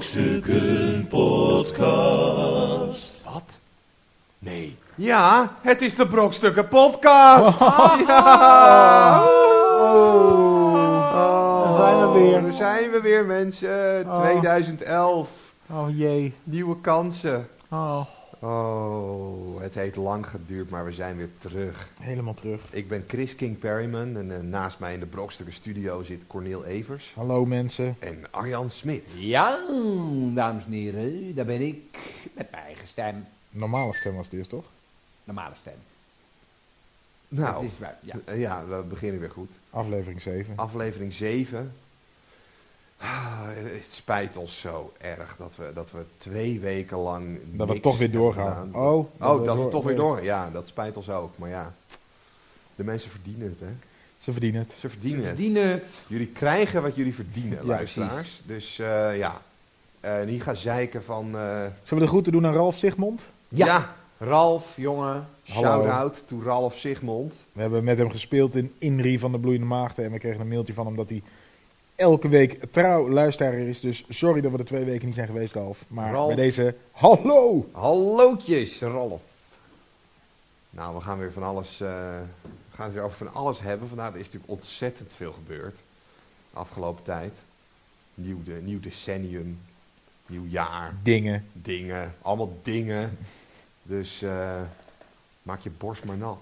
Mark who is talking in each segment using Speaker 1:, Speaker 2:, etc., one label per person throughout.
Speaker 1: Brokstukken Podcast.
Speaker 2: Wat? Nee.
Speaker 3: Ja, het is de Brokstukken Podcast.
Speaker 2: Oh. Daar zijn we weer.
Speaker 3: Oh. Daar zijn we weer, mensen.
Speaker 2: Oh.
Speaker 3: 2011.
Speaker 2: Oh jee.
Speaker 3: Nieuwe kansen.
Speaker 2: Oh.
Speaker 3: Oh, het heeft lang geduurd, maar we zijn weer terug.
Speaker 2: Helemaal terug.
Speaker 3: Ik ben Chris King Perryman en eh, naast mij in de Brokstukken Studio zit Cornel Evers
Speaker 2: Hallo mensen.
Speaker 3: en Arjan Smit.
Speaker 4: Ja, dames en heren, daar ben ik met mijn eigen stem,
Speaker 5: Normale stem was het eerst, toch?
Speaker 4: normale stem.
Speaker 3: Nou,
Speaker 4: Het is waar, ja.
Speaker 3: eh, ja, we beginnen weer goed.
Speaker 5: Aflevering 7.
Speaker 3: Aflevering 7. Ah, het spijt ons zo erg dat we, dat we twee weken lang.
Speaker 5: Dat we
Speaker 3: niks
Speaker 5: toch weer
Speaker 3: hebben
Speaker 5: doorgaan.
Speaker 3: gedaan.
Speaker 5: Oh,
Speaker 3: Oh,
Speaker 5: we
Speaker 3: dat we
Speaker 5: door-
Speaker 3: toch weer door. Ja, dat spijt ons ook. Maar ja, de mensen verdienen het, hè?
Speaker 5: Ze verdienen het.
Speaker 3: Ze verdienen het.
Speaker 4: Verdienen het.
Speaker 3: Jullie krijgen wat jullie verdienen,
Speaker 5: Ja,
Speaker 3: luisteraars. Dus eh, ja, Eh niet gaan zeiken van... eh,
Speaker 5: Zullen we de groeten doen aan Ralf Sigmond?
Speaker 4: Ja.
Speaker 3: ja,
Speaker 4: Ralf, jongen.
Speaker 5: Hallo.
Speaker 3: shout-out to Ralf Sigmond.
Speaker 5: We hebben met hem gespeeld in Inri van de Bloeiende Maagden. En we kregen een mailtje van hem dat hij elke week trouw luisteraar is. Dus sorry dat we er twee weken niet zijn geweest, Ralf. Maar
Speaker 4: Ralf.
Speaker 5: bij deze, hallo!
Speaker 4: Hallootjes, Ralf.
Speaker 3: Nou, we gaan weer van alles, eh, we gaan het weer over van alles hebben. Vandaag is natuurlijk ontzettend veel gebeurd. De afgelopen tijd. Nieuw, de, nieuw decennium. Nieuw jaar.
Speaker 5: Dingen.
Speaker 3: Dingen. Allemaal dingen. Dus eh, maak je borst maar nat.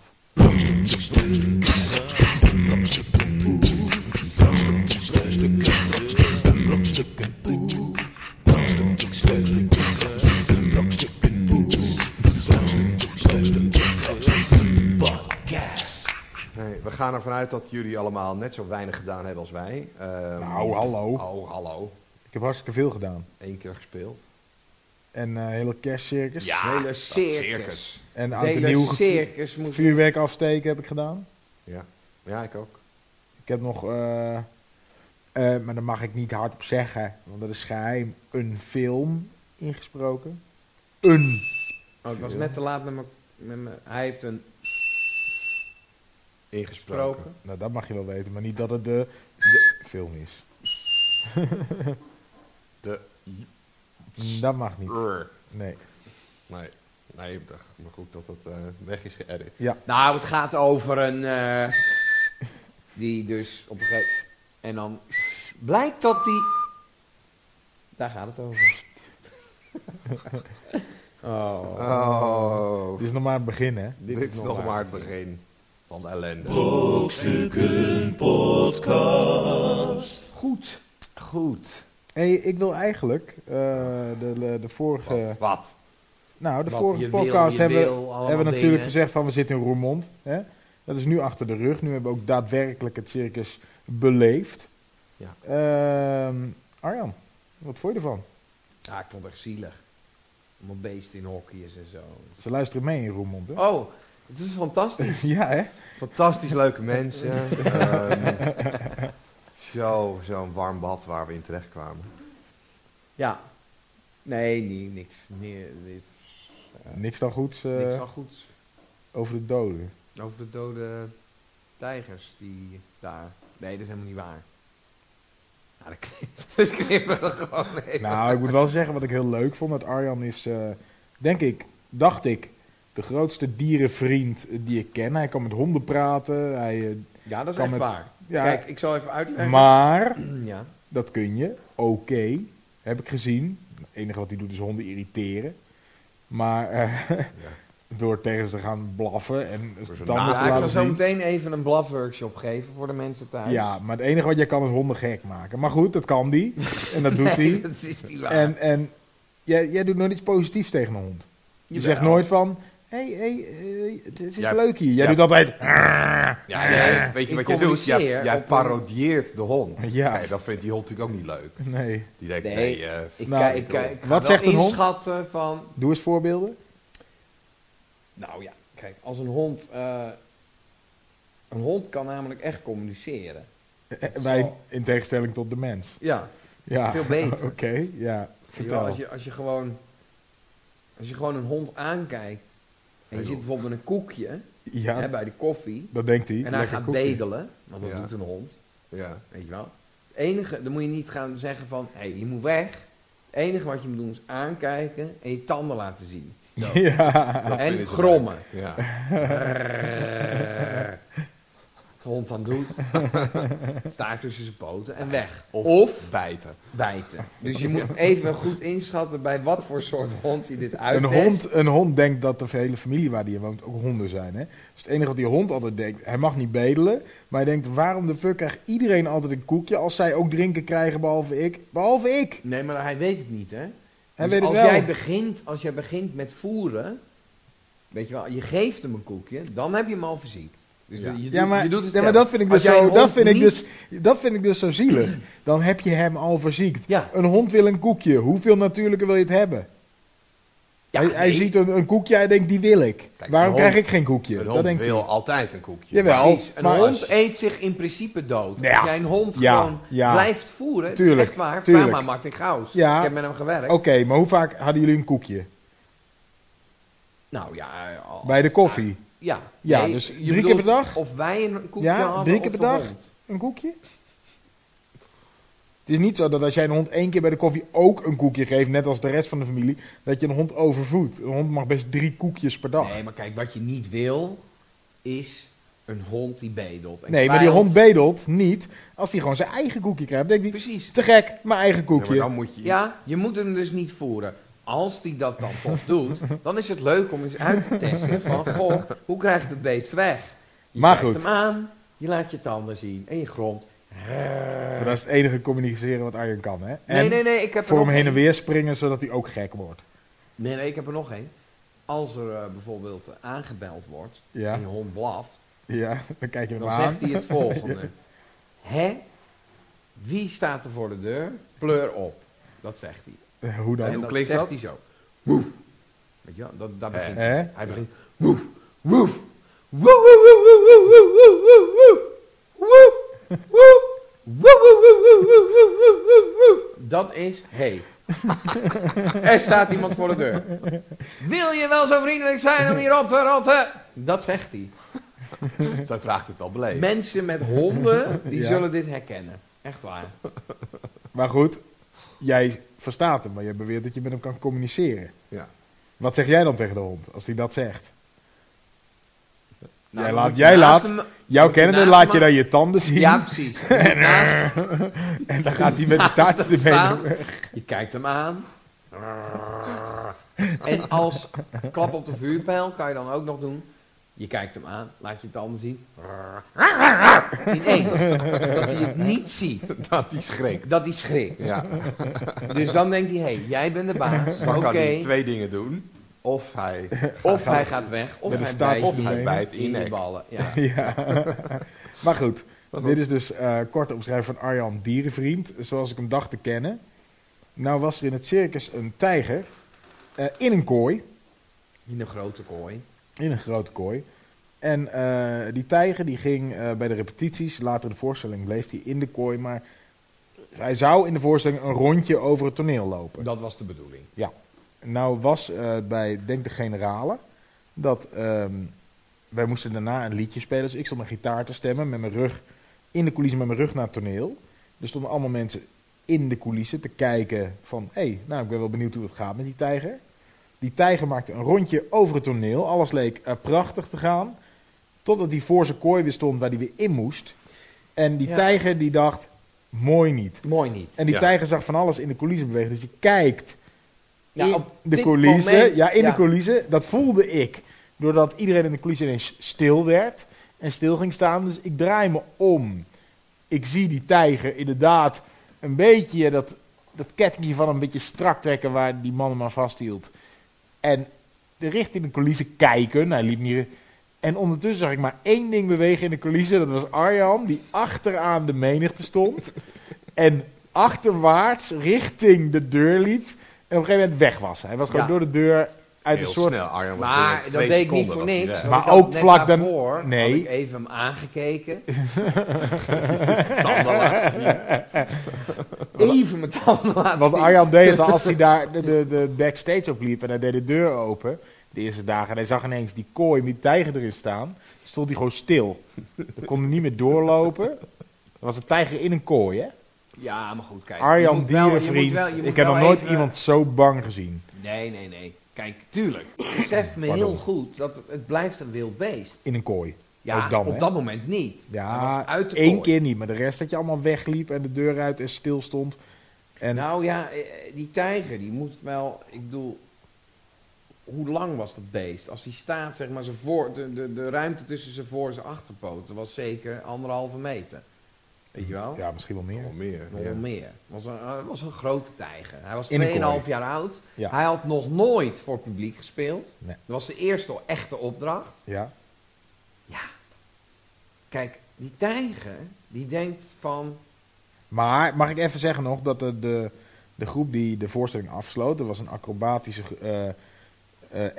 Speaker 3: Nee, we gaan ervan uit dat jullie allemaal net zo weinig gedaan hebben als wij. Ehm,
Speaker 5: Nou, hallo.
Speaker 3: Oh, hallo.
Speaker 5: Ik heb hartstikke veel gedaan.
Speaker 3: Eén keer gespeeld.
Speaker 5: En eh, hele kerstcircus.
Speaker 4: hele
Speaker 3: dat
Speaker 4: circus.
Speaker 5: En
Speaker 4: Het
Speaker 5: oud en nieuw
Speaker 4: hele
Speaker 5: gevu-
Speaker 4: circus moet...
Speaker 5: vuurwerk afsteken heb ik gedaan.
Speaker 3: Ja. ja, ik ook.
Speaker 5: Ik heb nog, eh, eh, maar daar mag ik niet hardop zeggen, want dat is geheim, een film ingesproken. Een.
Speaker 4: Oh, ik was net te laat met mijn... Met mijn hij heeft een
Speaker 3: Ingesproken.
Speaker 4: gesproken.
Speaker 5: Nou, dat mag je wel weten, maar niet dat het de, de film is.
Speaker 3: De
Speaker 5: Dat mag niet.
Speaker 3: Ur.
Speaker 5: Nee.
Speaker 3: Nee, nee, ik dacht, maar goed dat dat eh, weg is geëdit.
Speaker 4: Nou, het gaat over een... eh, die dus op een gegeven... En dan blijkt dat die... Daar gaat het over. oh.
Speaker 3: Oh,
Speaker 5: Dit is Dus nog maar het begin, hè?
Speaker 3: dit, is nog maar het begin van de ellende.
Speaker 1: Brokstukken Podcast.
Speaker 4: Goed.
Speaker 3: Goed.
Speaker 5: hey, ik wil eigenlijk eh, de, de, de vorige,
Speaker 3: Wat? Wat?
Speaker 5: nou, de
Speaker 4: Wat
Speaker 5: vorige
Speaker 4: je wil,
Speaker 5: podcast
Speaker 4: je
Speaker 5: hebben,
Speaker 4: wil, allemaal
Speaker 5: hebben we natuurlijk
Speaker 4: dingen.
Speaker 5: gezegd van we zitten in Roermond. Hè? Dat is nu achter de rug. Nu hebben we ook daadwerkelijk het circus beleefd.
Speaker 3: Ja.
Speaker 5: Ehm, Arjan, wat vond je ervan?
Speaker 4: Ja, Ah, ik vond het echt zielig. Allemaal beesten in hokjes en zo.
Speaker 5: Ze luisteren mee in Roermond, hè?
Speaker 4: Oh, het is fantastisch.
Speaker 5: Ja, hè?
Speaker 3: Fantastisch leuke mensen. Ehm, zo, zo'n warm bad waar we in terecht kwamen.
Speaker 4: Ja. Nee, nee niks. Nee, dit is, eh,
Speaker 5: Niks dan goeds eh,
Speaker 4: niks al goed
Speaker 5: over de doden.
Speaker 4: over de dode tijgers die daar... Nee, dat is helemaal niet waar. Nou, dat knipt- dat knippen we gewoon even.
Speaker 5: Nou, ik moet wel zeggen wat ik heel leuk vond. Dat Arjan is, eh, denk ik, dacht ik, de grootste dierenvriend die ik ken. Hij kan met honden praten. Hij, eh,
Speaker 4: ja, dat is
Speaker 5: kan
Speaker 4: echt
Speaker 5: het-
Speaker 4: waar.
Speaker 5: ja,
Speaker 4: Kijk, ik zal even uitleggen.
Speaker 5: maar
Speaker 4: Ja.
Speaker 5: dat kun je. Oké, heb ik gezien. Het enige wat hij doet is honden irriteren. Maar eh, door tegen ze te gaan blaffen en
Speaker 3: Door zijn
Speaker 5: tanden te
Speaker 3: naam.
Speaker 4: Ja, ik zal
Speaker 5: laten
Speaker 4: zo
Speaker 5: zien.
Speaker 4: meteen even een blafworkshop geven voor de mensen thuis.
Speaker 5: Ja, maar het enige wat jij kan is honden gek maken. Maar goed, dat kan die. En dat doet hij.
Speaker 4: Nee, dat is niet waar.
Speaker 5: En, en jij, jij doet nooit iets positiefs tegen een hond. Je
Speaker 4: Jawel.
Speaker 5: zegt nooit van, hé, hey, hey, eh, het is
Speaker 3: Ja.
Speaker 5: leuk hier. Jij
Speaker 3: Ja.
Speaker 5: doet altijd,
Speaker 3: Ja,
Speaker 4: Nee,
Speaker 3: weet je
Speaker 4: ik
Speaker 3: wat je doet? Jij,
Speaker 4: communiceer
Speaker 3: jij
Speaker 4: op een-
Speaker 3: parodieert de hond.
Speaker 5: Ja.
Speaker 3: Kijk, dat vindt die hond natuurlijk ook niet leuk.
Speaker 5: nee,
Speaker 3: Die denkt, nee,
Speaker 4: Nee,
Speaker 3: eh,
Speaker 4: Ik,
Speaker 5: Nou,
Speaker 4: kijk, ik, kijk, ik ga
Speaker 5: wat
Speaker 4: wel
Speaker 5: zegt een hond?
Speaker 4: inschatten van...
Speaker 5: doe eens voorbeelden.
Speaker 4: Nou ja, kijk, als een hond... eh, een hond kan namelijk echt communiceren.
Speaker 5: Eh,
Speaker 4: zal-
Speaker 5: Wij, in tegenstelling tot de mens.
Speaker 4: Ja,
Speaker 5: Ja.
Speaker 4: Veel beter.
Speaker 5: Oké, ja, vertel.
Speaker 4: als je, als je gewoon... Als je gewoon een hond aankijkt... En je
Speaker 3: Heel.
Speaker 4: zit bijvoorbeeld met een koekje
Speaker 5: ja,
Speaker 4: hè, bij de koffie...
Speaker 5: dat denkt hij.
Speaker 4: En hij
Speaker 5: Lekker
Speaker 4: gaat
Speaker 5: koekje.
Speaker 4: bedelen, want dat
Speaker 3: Ja.
Speaker 4: doet een hond,
Speaker 3: ja.
Speaker 4: weet je wel. Het enige, dan moet je niet gaan zeggen van, hé, je moet weg. Het enige wat je moet doen is aankijken en je tanden laten zien.
Speaker 5: Ja.
Speaker 3: Dat
Speaker 4: en
Speaker 3: vinden ze
Speaker 4: grommen.
Speaker 3: leuk. Ja.
Speaker 4: Brrrr. Wat de hond dan doet. Staart tussen zijn poten en weg.
Speaker 3: Of,
Speaker 4: Of
Speaker 3: bijten.
Speaker 4: bijten. Dus je moet even goed inschatten bij wat voor soort hond je dit
Speaker 5: Een
Speaker 4: uittest.
Speaker 5: hond, een hond denkt dat de hele familie waar die in woont ook honden zijn. Hè? Dus het enige wat die hond altijd denkt, hij mag niet bedelen. Maar hij denkt, waarom de fuck krijgt iedereen altijd een koekje als zij ook drinken krijgen behalve ik? Behalve ik!
Speaker 4: Nee, maar hij weet het niet, hè?
Speaker 5: Hij
Speaker 4: Dus
Speaker 5: weet het
Speaker 4: als
Speaker 5: wel.
Speaker 4: Jij begint, als jij begint met voeren, weet je wel, je geeft hem een koekje, dan heb je hem al verziekt. Dus
Speaker 3: Ja.
Speaker 4: je, doet-
Speaker 5: Ja, maar,
Speaker 4: je doet het
Speaker 5: ja, maar
Speaker 4: zelf.
Speaker 5: dat, vind ik
Speaker 4: Als
Speaker 5: dus
Speaker 4: jij een
Speaker 5: zo, dat,
Speaker 4: hond
Speaker 5: vind ik
Speaker 4: niet-
Speaker 5: dus, dat vind ik dus zo zielig. Dan heb je hem al verziekt.
Speaker 4: Ja.
Speaker 5: Een hond wil een koekje. Hoeveel natuurlijker wil je het hebben?
Speaker 4: Ja,
Speaker 5: hij, hij
Speaker 4: nee.
Speaker 5: ziet een, een koekje, hij denkt, die wil ik.
Speaker 3: een
Speaker 5: waarom
Speaker 3: hond-
Speaker 5: krijg ik geen koekje?
Speaker 3: Een
Speaker 5: Dat
Speaker 3: hond
Speaker 5: denkt
Speaker 3: wil
Speaker 5: hij.
Speaker 3: altijd een koekje.
Speaker 5: Jawel. wel,
Speaker 4: Precies. Een
Speaker 5: maar
Speaker 4: hond
Speaker 5: als-
Speaker 4: eet zich in principe dood.
Speaker 5: Ja.
Speaker 4: Als jij een hond
Speaker 5: Ja,
Speaker 4: gewoon
Speaker 5: ja.
Speaker 4: blijft voeren,
Speaker 5: Tuurlijk,
Speaker 4: echt waar,
Speaker 5: tuurlijk.
Speaker 4: Fama maakt een chaos.
Speaker 5: Ja.
Speaker 4: Ik heb met hem gewerkt.
Speaker 5: Oké, maar hoe vaak hadden jullie een koekje?
Speaker 4: Nou ja, al-
Speaker 5: Bij de koffie?
Speaker 4: ja.
Speaker 5: Ja,
Speaker 4: Nee,
Speaker 5: dus
Speaker 4: je
Speaker 5: drie keer
Speaker 4: bedoelt
Speaker 5: per dag?
Speaker 4: Of wij een koekje
Speaker 5: Ja,
Speaker 4: hadden
Speaker 5: drie keer
Speaker 4: of
Speaker 5: per
Speaker 4: de
Speaker 5: dag?
Speaker 4: hond.
Speaker 5: Een koekje? Het is niet zo dat als jij een hond één keer bij de koffie ook een koekje geeft, net als de rest van de familie, dat je een hond overvoedt. Een hond mag best drie koekjes per dag.
Speaker 4: Nee, maar kijk, wat je niet wil, is een hond die bedelt. En
Speaker 5: Nee, maar die
Speaker 4: kwijlt.
Speaker 5: hond bedelt niet als hij gewoon zijn eigen koekje krijgt. Denkt hij,
Speaker 4: Precies.
Speaker 5: te gek, mijn eigen
Speaker 3: Ja, maar
Speaker 5: koekje.
Speaker 3: dan moet je...
Speaker 4: Ja, je moet hem dus niet voeren. Als die dat dan toch doet, dan is het leuk om eens uit te testen van, goh, hoe krijgt het beest weg? Je
Speaker 5: Maar
Speaker 4: kijkt
Speaker 5: goed.
Speaker 4: hem aan, je laat je tanden zien en je grond.
Speaker 5: Eh, Maar dat is het enige communiceren wat Arjen kan, hè? En
Speaker 4: Nee, nee, nee, ik heb
Speaker 5: voor hem
Speaker 4: er nog
Speaker 5: heen en
Speaker 4: één.
Speaker 5: weer springen, zodat hij ook gek wordt.
Speaker 4: Nee, nee, ik heb er nog één. Als er eh, bijvoorbeeld eh, aangebeld wordt
Speaker 5: Ja,
Speaker 4: en je hond blaft,
Speaker 5: ja dan kijk je hem
Speaker 4: dan
Speaker 5: aan.
Speaker 4: zegt hij het volgende. Hè? Wie staat er voor de deur? Pleur op. Dat zegt hij.
Speaker 5: Eh, Hoe
Speaker 4: En
Speaker 5: dan?
Speaker 3: hoe
Speaker 4: dat
Speaker 3: klinkt
Speaker 4: zegt
Speaker 3: dat?
Speaker 4: hij zo. Woef. Weet je wel, dat, dat
Speaker 3: Hè?
Speaker 4: begint
Speaker 5: Hè?
Speaker 4: hij. Hij begint woef, woef, woef, woef, woef, woef, woef, woef, woef, woef, woef, woef, woef, woef, woef, woef, woef, woef, woef, woef, woef. Dat is hey. er staat iemand voor de deur. Wil je wel zo vriendelijk zijn om hier op te rotten? Dat zegt hij.
Speaker 3: Zij vraagt het wel beleefd.
Speaker 4: Mensen met honden, die
Speaker 5: Ja.
Speaker 4: zullen dit herkennen. Echt waar.
Speaker 5: Maar goed, jij verstaat hem, maar jij beweert dat je met hem kan communiceren.
Speaker 3: Ja.
Speaker 5: Wat zeg jij dan tegen de hond als hij dat zegt?
Speaker 4: Nou,
Speaker 5: Jij
Speaker 4: dan
Speaker 5: laat-
Speaker 4: moet je
Speaker 5: jij
Speaker 4: naast
Speaker 5: laat-
Speaker 4: hem-
Speaker 5: Jouw
Speaker 4: Moet je
Speaker 5: kennende
Speaker 4: naast
Speaker 5: laat je
Speaker 4: hem-
Speaker 5: dan je tanden zien
Speaker 4: Ja, precies. Je moet naast
Speaker 5: en dan gaat hij met de staartjes
Speaker 4: Naast hem
Speaker 5: ermee.
Speaker 4: staan. Je kijkt hem aan. En als klap op de vuurpijl kan je dan ook nog doen. Je kijkt hem aan, laat je het anders zien. Ineens. Dat hij het niet ziet.
Speaker 3: Dat die schrikt.
Speaker 4: Dat hij schrikt.
Speaker 3: Ja.
Speaker 4: Dus dan denkt hij, hé, hey, jij bent de baas.
Speaker 3: Dan
Speaker 4: Oké.
Speaker 3: kan hij twee dingen doen. Of hij...
Speaker 4: Of hij gaat weg, of
Speaker 5: Met een
Speaker 4: hij
Speaker 5: staart
Speaker 4: bijt
Speaker 5: op
Speaker 4: die-
Speaker 5: hij
Speaker 3: bijt in je
Speaker 4: in de
Speaker 3: nek.
Speaker 4: ballen. Ja.
Speaker 5: Ja. maar goed, dit is dus eh kort omschrijven van Arjan Dierenvriend, zoals ik hem dacht te kennen. Nou was er in het circus een tijger eh, in een kooi,
Speaker 4: In een grote kooi.
Speaker 5: in een grote kooi. En eh, die tijger die ging eh, bij de repetities, later in de voorstelling bleef hij in de kooi, maar hij zou in de voorstelling een rondje over het toneel lopen.
Speaker 4: Dat was de bedoeling.
Speaker 5: Nou was eh, bij, denk de generale, dat ehm, wij moesten daarna een liedje spelen. Dus ik stond mijn gitaar te stemmen met mijn rug in de coulissen, met mijn rug naar het toneel. Er stonden allemaal mensen in de coulissen te kijken van, hé, hey, nou ik ben wel benieuwd hoe het gaat met die tijger. Die tijger maakte een rondje over het toneel. Alles leek eh, prachtig te gaan. Totdat hij voor zijn kooi weer stond waar hij weer in moest. En die
Speaker 4: Ja.
Speaker 5: tijger die dacht, mooi niet.
Speaker 4: Mooi niet.
Speaker 5: En die
Speaker 3: Ja.
Speaker 5: tijger zag van alles in de coulissen bewegen. Dus je kijkt
Speaker 4: Ja,
Speaker 5: in
Speaker 4: op
Speaker 5: de
Speaker 4: dit
Speaker 5: coulissen.
Speaker 4: moment-
Speaker 5: ja, in
Speaker 4: ja.
Speaker 5: de coulissen. Dat voelde ik. Doordat iedereen in de coulissen ineens stil werd. En stil ging staan. Dus ik draai me om. Ik zie die tijger inderdaad een beetje dat, dat kettingje van hem een beetje strak trekken waar die man hem aan vasthield. En de richting de coulissen kijken. Nou, Hij liep niet... En ondertussen zag ik maar één ding bewegen in de coulissen. Dat was Arjan, die achteraan de menigte stond. En achterwaarts richting de deur liep. En op een gegeven moment weg was. Hij was gewoon
Speaker 4: Ja.
Speaker 5: door de door uit
Speaker 3: heel
Speaker 5: een soort.
Speaker 3: snel. Arjan was
Speaker 4: Maar
Speaker 3: binnen
Speaker 4: dat
Speaker 3: twee
Speaker 4: deed ik niet
Speaker 3: seconden
Speaker 4: voor
Speaker 3: was hij
Speaker 4: niks.
Speaker 3: weg.
Speaker 4: want
Speaker 5: Maar
Speaker 4: ik had
Speaker 5: ook
Speaker 4: net
Speaker 5: vlak dan-
Speaker 4: daarvoor had
Speaker 5: Nee.
Speaker 4: ik even hem aangekeken.
Speaker 3: Tanden laten zien.
Speaker 4: Even mijn tanden laten
Speaker 5: Want
Speaker 4: zien.
Speaker 5: Arjan deed het al als hij daar de, de, de backstage op liep en hij deed de deur open. De eerste dagen. En hij zag ineens die kooi met die tijger erin staan. Stond hij gewoon stil. Dan kon hij niet meer doorlopen. Er was een tijger in een kooi, hè?
Speaker 4: Ja, maar goed, kijk. je
Speaker 5: Arjan
Speaker 4: moet wel- je moet
Speaker 5: Dierenvriend.
Speaker 4: wel- je moet
Speaker 5: ik heb
Speaker 4: wel
Speaker 5: nog nooit
Speaker 4: even-
Speaker 5: iemand zo bang gezien.
Speaker 4: Nee, nee, nee. Kijk, tuurlijk. Ik besef me heel goed dat het, het blijft een wild beest.
Speaker 5: In een kooi.
Speaker 4: Ja,
Speaker 5: Ook dan,
Speaker 4: op
Speaker 5: hè?
Speaker 4: dat moment niet. Hij was
Speaker 5: Ja,
Speaker 4: uit de
Speaker 5: één
Speaker 4: kooi.
Speaker 5: keer niet. Maar de rest dat je allemaal wegliep en de deur uit en stil stond. En
Speaker 4: Nou ja, eh, eh, die tijger, die moest wel... Ik bedoel, hoe lang was dat beest? Als die staat, zeg maar, zijn voor, de, de, de ruimte tussen zijn voor- en zijn achterpoten was zeker anderhalve meter. Weet je wel?
Speaker 5: ja, misschien wel meer.
Speaker 3: Nog meer.
Speaker 4: Nog
Speaker 3: ja.
Speaker 4: wel meer. Was een, eh, was een grote tijger. Hij was
Speaker 5: In een
Speaker 4: 2,5 jaar oud.
Speaker 5: Ja.
Speaker 4: Hij had nog nooit voor publiek gespeeld.
Speaker 5: Nee.
Speaker 4: Dat was de eerste echte opdracht.
Speaker 5: Ja.
Speaker 4: Ja. Kijk, die tijger, die denkt van...
Speaker 5: Maar mag ik even zeggen nog dat de, de, de groep die de voorstelling afsloot, dat was een acrobatische eh, eh,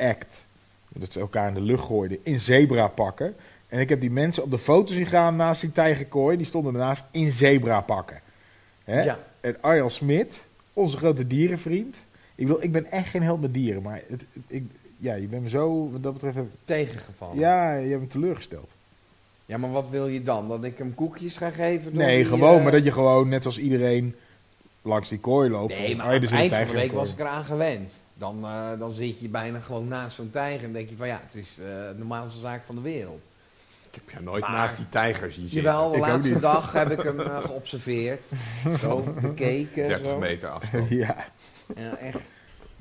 Speaker 5: act. Dat ze elkaar in de lucht gooiden in zebra pakken. En ik heb die mensen op de foto zien gaan naast die tijgerkooi. Die stonden ernaast in zebra pakken. Hè?
Speaker 4: Ja.
Speaker 5: En Arjan Smit, onze grote dierenvriend. Ik bedoel, ik ben echt geen held met dieren. Maar het, het- ik, ja, je bent me zo, wat dat betreft, heb ik-
Speaker 4: Tegengevallen.
Speaker 5: ja, je hebt me teleurgesteld.
Speaker 4: Ja, maar wat wil je dan? Dat ik hem koekjes ga geven? door
Speaker 5: Nee,
Speaker 4: die,
Speaker 5: gewoon,
Speaker 4: eh,
Speaker 5: maar dat je gewoon net zoals iedereen langs die kooi loopt.
Speaker 4: Nee,
Speaker 5: Van,
Speaker 4: maar
Speaker 5: oh ja,
Speaker 4: aan
Speaker 5: er
Speaker 4: het
Speaker 5: zit een
Speaker 4: eind van de
Speaker 5: tijger in
Speaker 4: week was
Speaker 5: kooi.
Speaker 4: ik eraan gewend. Dan, eh, dan zit je bijna gewoon naast zo'n tijger en denk je van ja, het is eh, de normaalste zaak van de wereld.
Speaker 3: Ik heb jou nooit
Speaker 4: Maar-
Speaker 3: naast die tijger zien zitten.
Speaker 4: Jawel, de
Speaker 5: Ik ook
Speaker 4: laatste
Speaker 5: niet.
Speaker 4: dag heb ik hem eh, geobserveerd. zo, bekeken.
Speaker 3: 30
Speaker 4: zo.
Speaker 3: meter afstand.
Speaker 5: Ja.
Speaker 4: Ja, echt.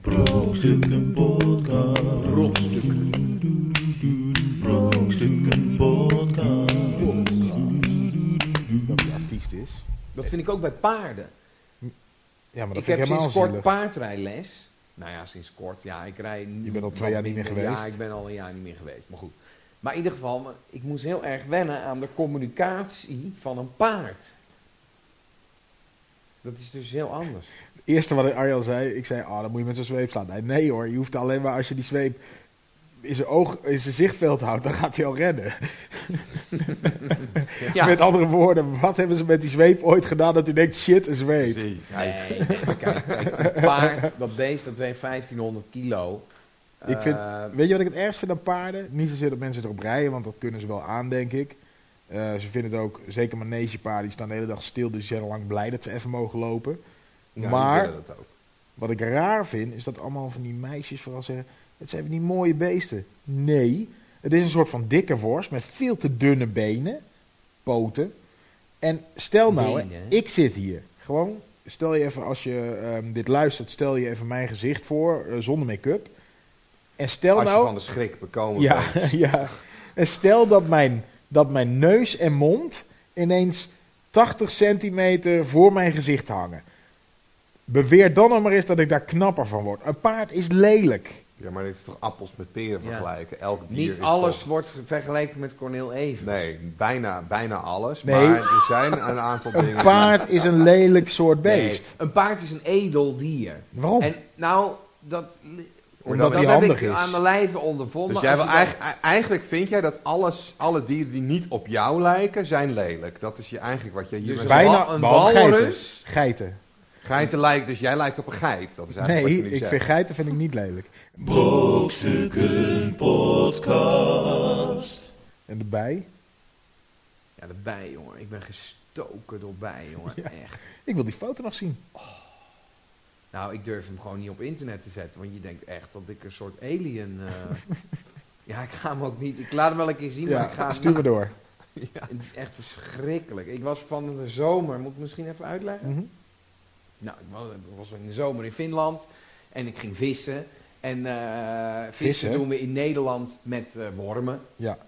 Speaker 1: Brokstukken podcast. Brokstukken podcast.
Speaker 5: Dat hij artiest is.
Speaker 4: Dat vind ik ook bij paarden.
Speaker 5: Ja, maar dat
Speaker 4: ik
Speaker 5: vind
Speaker 4: heb
Speaker 5: ik helemaal
Speaker 4: sinds kort
Speaker 5: zielig.
Speaker 4: paardrijles. Nou ja, sinds kort. Ja, ik rij nu
Speaker 5: Je bent al twee
Speaker 4: wat
Speaker 5: jaar niet meer
Speaker 4: minder. Ja,
Speaker 5: geweest.
Speaker 4: ik ben al een jaar niet meer geweest. Maar goed. Maar in ieder geval, ik moest heel erg wennen aan de communicatie van een paard. Dat is dus heel anders.
Speaker 5: Het eerste wat Arjan zei, ik zei, ah, dan moet je met zo'n zweep slaan. Hij, nee hoor, je hoeft alleen maar als je die zweep in zijn, oog, in zijn zichtveld houdt, dan gaat hij al rennen.
Speaker 4: Ja.
Speaker 5: Met andere woorden, wat hebben ze met die zweep ooit gedaan dat hij denkt, shit, een zweep.
Speaker 3: Precies. Hij-
Speaker 4: Nee, nee, kijk, kijk, een paard, dat beest, dat weegt 1500 kilo.
Speaker 5: Ik vind-
Speaker 4: Eh,
Speaker 5: Weet je wat ik het ergst vind aan paarden? Niet zozeer dat mensen erop rijden, want dat kunnen ze wel aan, denk ik. Eh, ze vinden het ook, zeker manegepaarden, die staan de hele dag stil, dus ze zijn al lang blij dat ze even mogen lopen.
Speaker 3: Ja, die
Speaker 5: maar
Speaker 3: willen dat ook.
Speaker 5: Wat ik raar vind, is dat allemaal van die meisjes vooral zeggen... het zijn van die mooie beesten. Nee, het is een soort van dikke worst met veel te dunne benen, poten. En stel nou, hè,
Speaker 4: Benen, hè?
Speaker 5: ik zit hier. Gewoon, stel je even als je ehm, dit luistert, stel je even mijn gezicht voor, eh, zonder make-up. En stel
Speaker 3: Als je
Speaker 5: nou...
Speaker 3: van de schrik bekomen
Speaker 5: Ja,
Speaker 3: bent.
Speaker 5: ja. En stel dat mijn, dat mijn neus en mond ineens 80 centimeter voor mijn gezicht hangen. Beweer dan nog maar eens dat ik daar knapper van word. Een paard is lelijk.
Speaker 3: Ja, maar dit is toch appels met peren
Speaker 4: Ja.
Speaker 3: vergelijken? Elk dier
Speaker 4: niet
Speaker 3: is
Speaker 4: alles
Speaker 3: toch-
Speaker 4: wordt vergeleken met Cornel Even.
Speaker 3: Nee, bijna, bijna alles.
Speaker 5: Nee.
Speaker 3: Maar er zijn een aantal dingen...
Speaker 5: Een paard is een lelijk soort beest.
Speaker 4: Nee, een paard is een edel dier.
Speaker 5: Waarom?
Speaker 4: En nou, dat, li-
Speaker 5: Omdat
Speaker 4: dat
Speaker 5: hij
Speaker 4: heb
Speaker 5: handig
Speaker 4: ik
Speaker 5: is.
Speaker 4: aan mijn lijve ondervonden.
Speaker 3: Dus jij
Speaker 4: Als
Speaker 3: wil
Speaker 4: je dan-
Speaker 3: eigenlijk, eigenlijk vind jij dat alles, alle dieren die niet op jou lijken, zijn lelijk. Dat is je eigenlijk wat jij hier
Speaker 4: Dus
Speaker 3: met
Speaker 4: een
Speaker 5: Bijna,
Speaker 4: wal- een
Speaker 5: behalve geiten.
Speaker 4: walrus?
Speaker 5: Geiten.
Speaker 3: Geiten lijkt, dus jij lijkt op een geit. Dat is eigenlijk
Speaker 5: Nee,
Speaker 3: wat jullie
Speaker 5: ik
Speaker 3: zeggen.
Speaker 5: vind geiten vind ik niet lelijk.
Speaker 1: Brokstukken podcast.
Speaker 5: En de bij?
Speaker 4: Ja, de bij, jongen. Ik ben gestoken door bij, jongen. Echt.
Speaker 5: Ik wil die foto nog zien.
Speaker 4: Nou, ik durf hem gewoon niet op internet te zetten. Want je denkt echt dat ik een soort alien... eh, ja, ik ga hem ook niet... Ik laat hem wel een keer zien, maar ik ga
Speaker 5: Ja,
Speaker 4: hem
Speaker 5: stuur me door.
Speaker 4: Het is echt verschrikkelijk. Ik was van de zomer... Moet ik misschien even uitleggen?
Speaker 5: Mhm.
Speaker 4: Nou, ik was, ik was in de zomer in Finland en ik ging vissen. En eh, vissen,
Speaker 5: Vissen?
Speaker 4: doen we in Nederland met eh, wormen.
Speaker 5: Ja.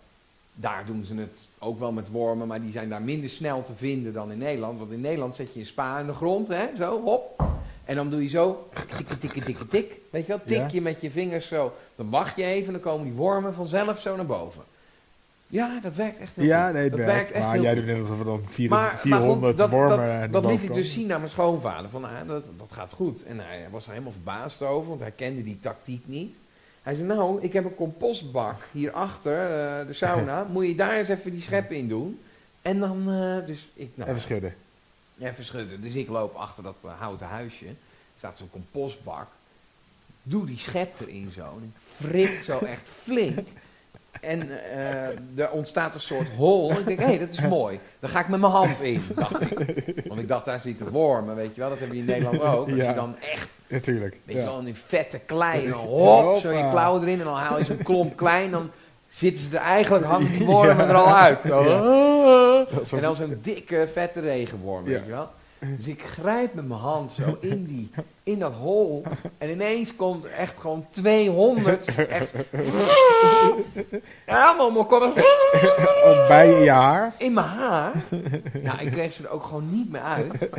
Speaker 4: Daar doen ze het ook wel met wormen, maar die zijn daar minder snel te vinden dan in Nederland. Want in Nederland zet je een spa in de grond, hè, zo, hop. En dan doe je zo, tikkie, tikkie, tikkie, tik. Weet je wel, tik
Speaker 5: Ja.
Speaker 4: je met je vingers zo. Dan wacht je even, dan komen die wormen vanzelf zo naar boven. Ja, dat werkt echt heel
Speaker 5: Ja,
Speaker 4: goed.
Speaker 5: nee, het
Speaker 4: dat
Speaker 5: werkt.
Speaker 4: echt
Speaker 5: maar
Speaker 4: heel
Speaker 5: jij
Speaker 4: goed.
Speaker 5: doet net alsof er dan vier-
Speaker 4: Maar- maar
Speaker 5: 400
Speaker 4: goed, dat,
Speaker 5: wormen
Speaker 4: dat-
Speaker 5: aan de
Speaker 4: dat liet ik
Speaker 5: bovenkant.
Speaker 4: dus zien aan mijn schoonvader. Van, ah, dat, dat gaat goed. En hij was er helemaal verbaasd over, want hij kende die tactiek niet. Hij zei, nou, ik heb een compostbak hierachter, eh de sauna. Moet je daar eens even die schep in doen? En dan, eh, dus ik... Nou,
Speaker 5: Even schudden.
Speaker 4: Even schudden. Dus ik loop achter dat eh, houten huisje. Er staat zo'n compostbak. Doe die schep erin zo. En ik frik zo echt flink. En eh, er ontstaat een soort hol. En ik denk, hé, hey, dat is mooi. Daar ga ik met mijn hand in, dacht ik. Want ik dacht, daar zit de wormen, weet je wel. Dat hebben we in Nederland ook. Als
Speaker 5: Ja.
Speaker 4: je dan echt,
Speaker 5: natuurlijk.
Speaker 4: weet
Speaker 5: ja.
Speaker 4: je wel, een vette klei. En dan hop, zo je
Speaker 5: Hoppa.
Speaker 4: klauwen erin. En dan haal je zo'n klomp klein. Dan zitten ze er eigenlijk, hangen die wormen er al uit. Zo. Ah. En dan zo'n dikke, vette regenworm, weet
Speaker 5: Ja.
Speaker 4: je wel. Dus ik grijp met mijn hand zo in, die, in dat hol. En ineens komt er echt gewoon 200. Echt, helemaal mijn kop
Speaker 5: Of bij je haar.
Speaker 4: in mijn haar. Nou, ik kreeg ze er ook gewoon niet meer uit.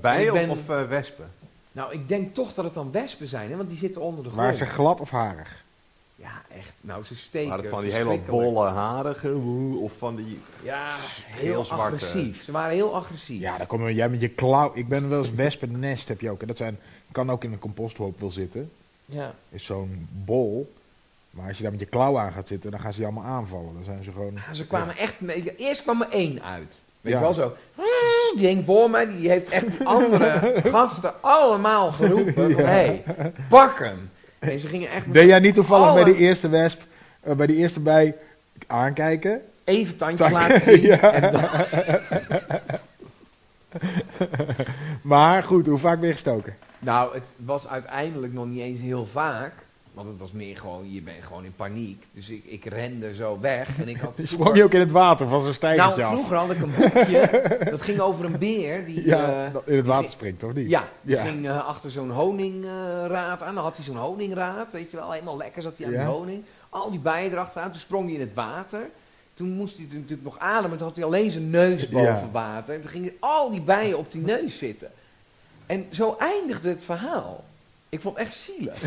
Speaker 3: Bijen
Speaker 4: Ik ben-
Speaker 3: of eh, wespen?
Speaker 4: Nou, ik denk toch dat het dan wespen zijn, hè, want die zitten onder de grond.
Speaker 5: Maar ze glad of harig?
Speaker 4: Ja, echt. Nou, ze steken.
Speaker 3: Waren het van die hele
Speaker 4: verschrikkelijk.
Speaker 3: bolle harige woe, of van die...
Speaker 4: Ja, heel,
Speaker 3: Heel zwarte.
Speaker 4: agressief. Ze waren heel agressief.
Speaker 5: Ja, dan kom je, jij met je klauw. Ik ben wel eens wespennest heb je ook. En dat zijn, kan ook in een composthoop wel zitten.
Speaker 4: ja.
Speaker 5: Is zo'n bol. Maar als je daar met je klauw aan gaat zitten, dan gaan ze je allemaal aanvallen. Dan zijn ze gewoon...
Speaker 4: Ja, Ze kwamen echt. mee- Eerst kwam er één uit. Weet
Speaker 5: Ja.
Speaker 4: je wel zo. Die hing voor mij, die heeft echt die andere gasten allemaal geroepen. Hé, hey, pak hem. En ze gingen echt met
Speaker 5: Deed jij niet toevallig
Speaker 4: Alle-
Speaker 5: bij die eerste wesp, eh, bij die eerste bij aankijken?
Speaker 4: even tandje
Speaker 5: Tak-
Speaker 4: laten zien.
Speaker 5: Ja.
Speaker 4: En dan-
Speaker 5: Maar goed, hoe vaak ben je gestoken?
Speaker 4: nou, het was uiteindelijk nog niet eens heel vaak. Want het was meer gewoon, je bent gewoon in paniek. Dus ik, ik rende zo weg. En ik had
Speaker 5: Sprong je ook in het water van zo'n
Speaker 4: Nou,
Speaker 5: stijgertje af?
Speaker 4: vroeger had ik een boekje. dat ging over een beer die...
Speaker 5: Ja,
Speaker 4: eh,
Speaker 5: dat in het water springt, toch niet?
Speaker 4: Ja, die
Speaker 5: Ja.
Speaker 4: ging eh, achter zo'n honingraad aan. Dan had hij zo'n honingraad, weet je wel. Helemaal lekker zat hij aan
Speaker 5: Ja.
Speaker 4: die honing. Al die bijen erachteraan. Toen sprong hij in het water. Toen moest hij natuurlijk nog ademen. Toen had hij alleen zijn neus boven
Speaker 5: Ja.
Speaker 4: water. En toen gingen al die bijen op die neus zitten. En zo eindigde het verhaal. Ik vond het echt zielig.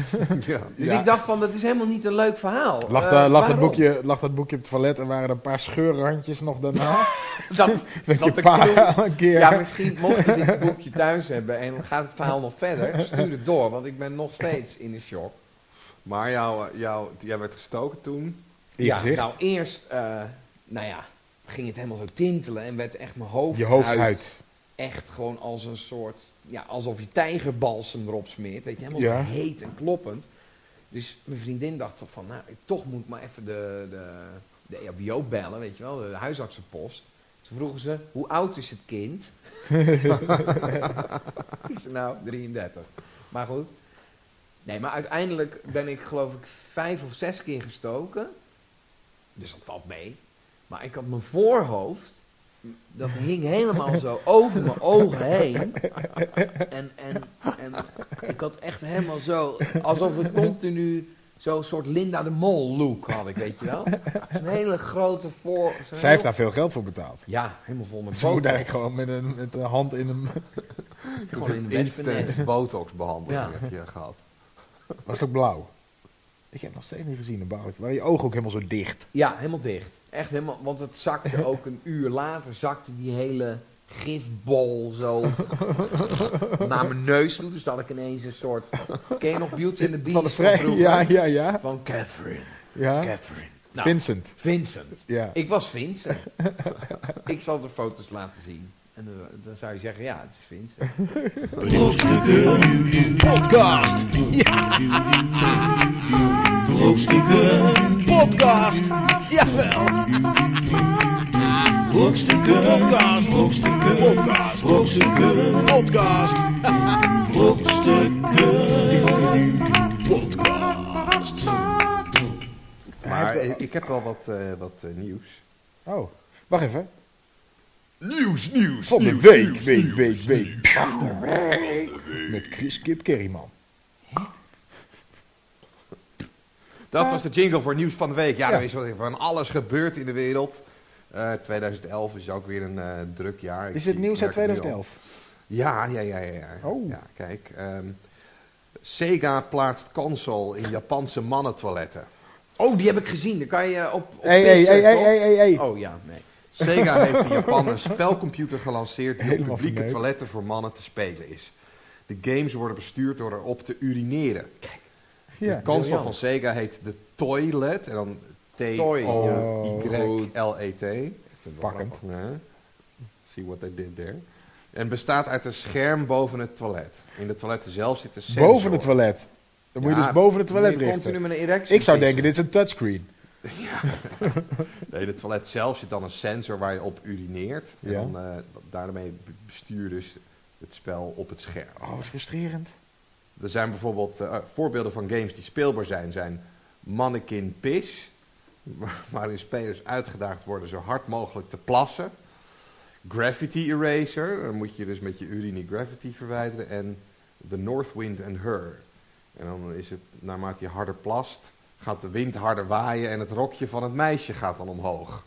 Speaker 3: ja.
Speaker 4: Dus
Speaker 5: Ja.
Speaker 4: ik dacht van, dat is helemaal niet een leuk verhaal.
Speaker 5: Lag,
Speaker 4: Eh,
Speaker 5: daar- lag, dat
Speaker 4: waarom?
Speaker 5: boekje, lag dat boekje op het toilet en waren er een paar scheurrandjes nog daarna?
Speaker 4: Dat,
Speaker 5: Dat,
Speaker 4: dat
Speaker 5: je
Speaker 4: de
Speaker 5: pa
Speaker 4: knoe-
Speaker 5: een keer...
Speaker 4: Ja, misschien mocht je dit boekje thuis hebben en dan gaat het verhaal nog verder. Stuur het door, want ik ben nog steeds in de shock.
Speaker 3: Maar jouw, eh, jouw, jij werd gestoken toen.
Speaker 5: in je
Speaker 4: ja,
Speaker 5: gezicht.
Speaker 4: nou eerst, eh, nou ja, ging het helemaal zo tintelen en werd echt mijn hoofd,
Speaker 5: je hoofd
Speaker 4: uit.
Speaker 5: uit.
Speaker 4: Echt gewoon als een soort, ja, alsof je tijgerbalsem erop smeert. Weet je, helemaal
Speaker 5: Ja.
Speaker 4: heet en kloppend. Dus mijn vriendin dacht toch van, nou, ik- toch moet ik maar even de, de, de E EHBO bellen, weet je wel, de huisartsenpost. Toen vroegen ze, hoe oud is het kind? ik zei, nou, 33. Maar goed. Nee, maar uiteindelijk ben ik geloof ik vijf of zes keer gestoken. Dus dat valt mee. Maar ik had mijn voorhoofd, dat hing helemaal zo over mijn ogen heen. En, en, en ik had echt helemaal zo, alsof ik continu zo'n soort Linda de Mol look had ik, weet je wel. Zo'n hele grote voor... zo'n
Speaker 5: Zij heeft
Speaker 4: heel-
Speaker 5: daar veel geld voor betaald.
Speaker 4: Ja, helemaal vol met
Speaker 5: Ze moet
Speaker 4: botox.
Speaker 5: eigenlijk gewoon met een, met een hand in hem...
Speaker 4: Gewoon in de wespennet.
Speaker 3: Instant botox behandeling
Speaker 4: Ja.
Speaker 3: heb je gehad.
Speaker 5: Was het ook blauw? Ik heb nog steeds niet gezien een bouwtje. Waren je ogen ook helemaal zo dicht?
Speaker 4: Ja, helemaal dicht. Echt helemaal, want het zakte ook een uur later, zakte die hele gifbol zo naar mijn neus toe. Dus dat had ik ineens een soort, ken je nog Beauty and the Beast
Speaker 5: Van de vrij.
Speaker 4: vroeger?
Speaker 5: Ja, ja, ja.
Speaker 4: Van Catherine,
Speaker 5: ja.
Speaker 4: Catherine. Nou,
Speaker 5: Vincent.
Speaker 4: Vincent.
Speaker 5: Ja.
Speaker 4: Ik was Vincent. ik zal de foto's laten zien. En dan, dan zou je zeggen, ja, het is Vincent.
Speaker 1: Brokstukken
Speaker 6: Podcast.
Speaker 1: Brokstukken
Speaker 6: Podcast. Jawel.
Speaker 1: Brokstukken
Speaker 6: Podcast.
Speaker 1: Brokstukken
Speaker 6: Podcast.
Speaker 1: Brokstukken
Speaker 6: Podcast.
Speaker 1: Brokstukken Podcast
Speaker 3: Maar
Speaker 5: heeft-
Speaker 3: ik- ik heb wel wat, eh, wat eh, nieuws.
Speaker 5: Oh, wacht even.
Speaker 1: Nieuws, nieuws
Speaker 5: Van de week, week, week, week. Van de week. Met Chris Kip Kerryman. Eh,
Speaker 3: Dat was de jingle voor nieuws van de week. Ja, er is wat van alles gebeurd in de wereld. Eh, 2011 is ook weer een eh, druk jaar. Ik
Speaker 5: Is
Speaker 3: zie-
Speaker 5: het nieuws
Speaker 3: ik
Speaker 5: uit
Speaker 3: merk het nu al.
Speaker 5: 2011?
Speaker 3: Ja, ja, ja, ja. ja.
Speaker 5: Oh.
Speaker 3: ja kijk, ehm, Sega plaatst console in Japanse mannentoiletten.
Speaker 4: Oh, die heb ik gezien. Daar kan je op, op
Speaker 5: Hé, hé,
Speaker 4: pissen,
Speaker 5: hé, hé,
Speaker 4: toch?
Speaker 5: hé, hé, hé.
Speaker 4: Oh ja, nee.
Speaker 3: Sega heeft in Japan een spelcomputer gelanceerd die op
Speaker 5: Helemaal
Speaker 3: publieke
Speaker 5: verneukt.
Speaker 3: toiletten voor mannen te spelen is. De games worden bestuurd door erop te urineren. de
Speaker 5: Ja.
Speaker 3: console
Speaker 4: briljant.
Speaker 3: van Sega heet de Toilet en dan
Speaker 4: Toy, ja.
Speaker 3: T-O-Y-L-E-T.
Speaker 5: Oh, Pakkend.
Speaker 3: Ja. See what I did there. En bestaat uit een scherm boven het toilet. In de toiletten zelf zitten sensoren.
Speaker 5: Boven het toilet. Dan moet je
Speaker 3: Ja,
Speaker 5: dus boven het
Speaker 4: Moet je
Speaker 5: toilet richten.
Speaker 4: continu met een erectie
Speaker 5: Ik zou
Speaker 4: pissen.
Speaker 5: denken, dit is een touchscreen.
Speaker 3: Nee, in het toilet zelf zit dan een sensor waar je op urineert. En
Speaker 7: Ja.
Speaker 3: dan, eh, daarmee be- bestuur je dus het spel op het scherm.
Speaker 7: Oh, wat frustrerend.
Speaker 3: Er zijn bijvoorbeeld eh, voorbeelden van games die speelbaar zijn. zijn Mannequin Piss, wa- waarin spelers uitgedaagd worden zo hard mogelijk te plassen. Graffiti Eraser, dan moet je dus met je urine gravity verwijderen. En The North Wind and Her. En dan is het, naarmate je harder plast, gaat de wind harder waaien en het rokje van het meisje gaat dan
Speaker 4: Eh,
Speaker 3: omhoog.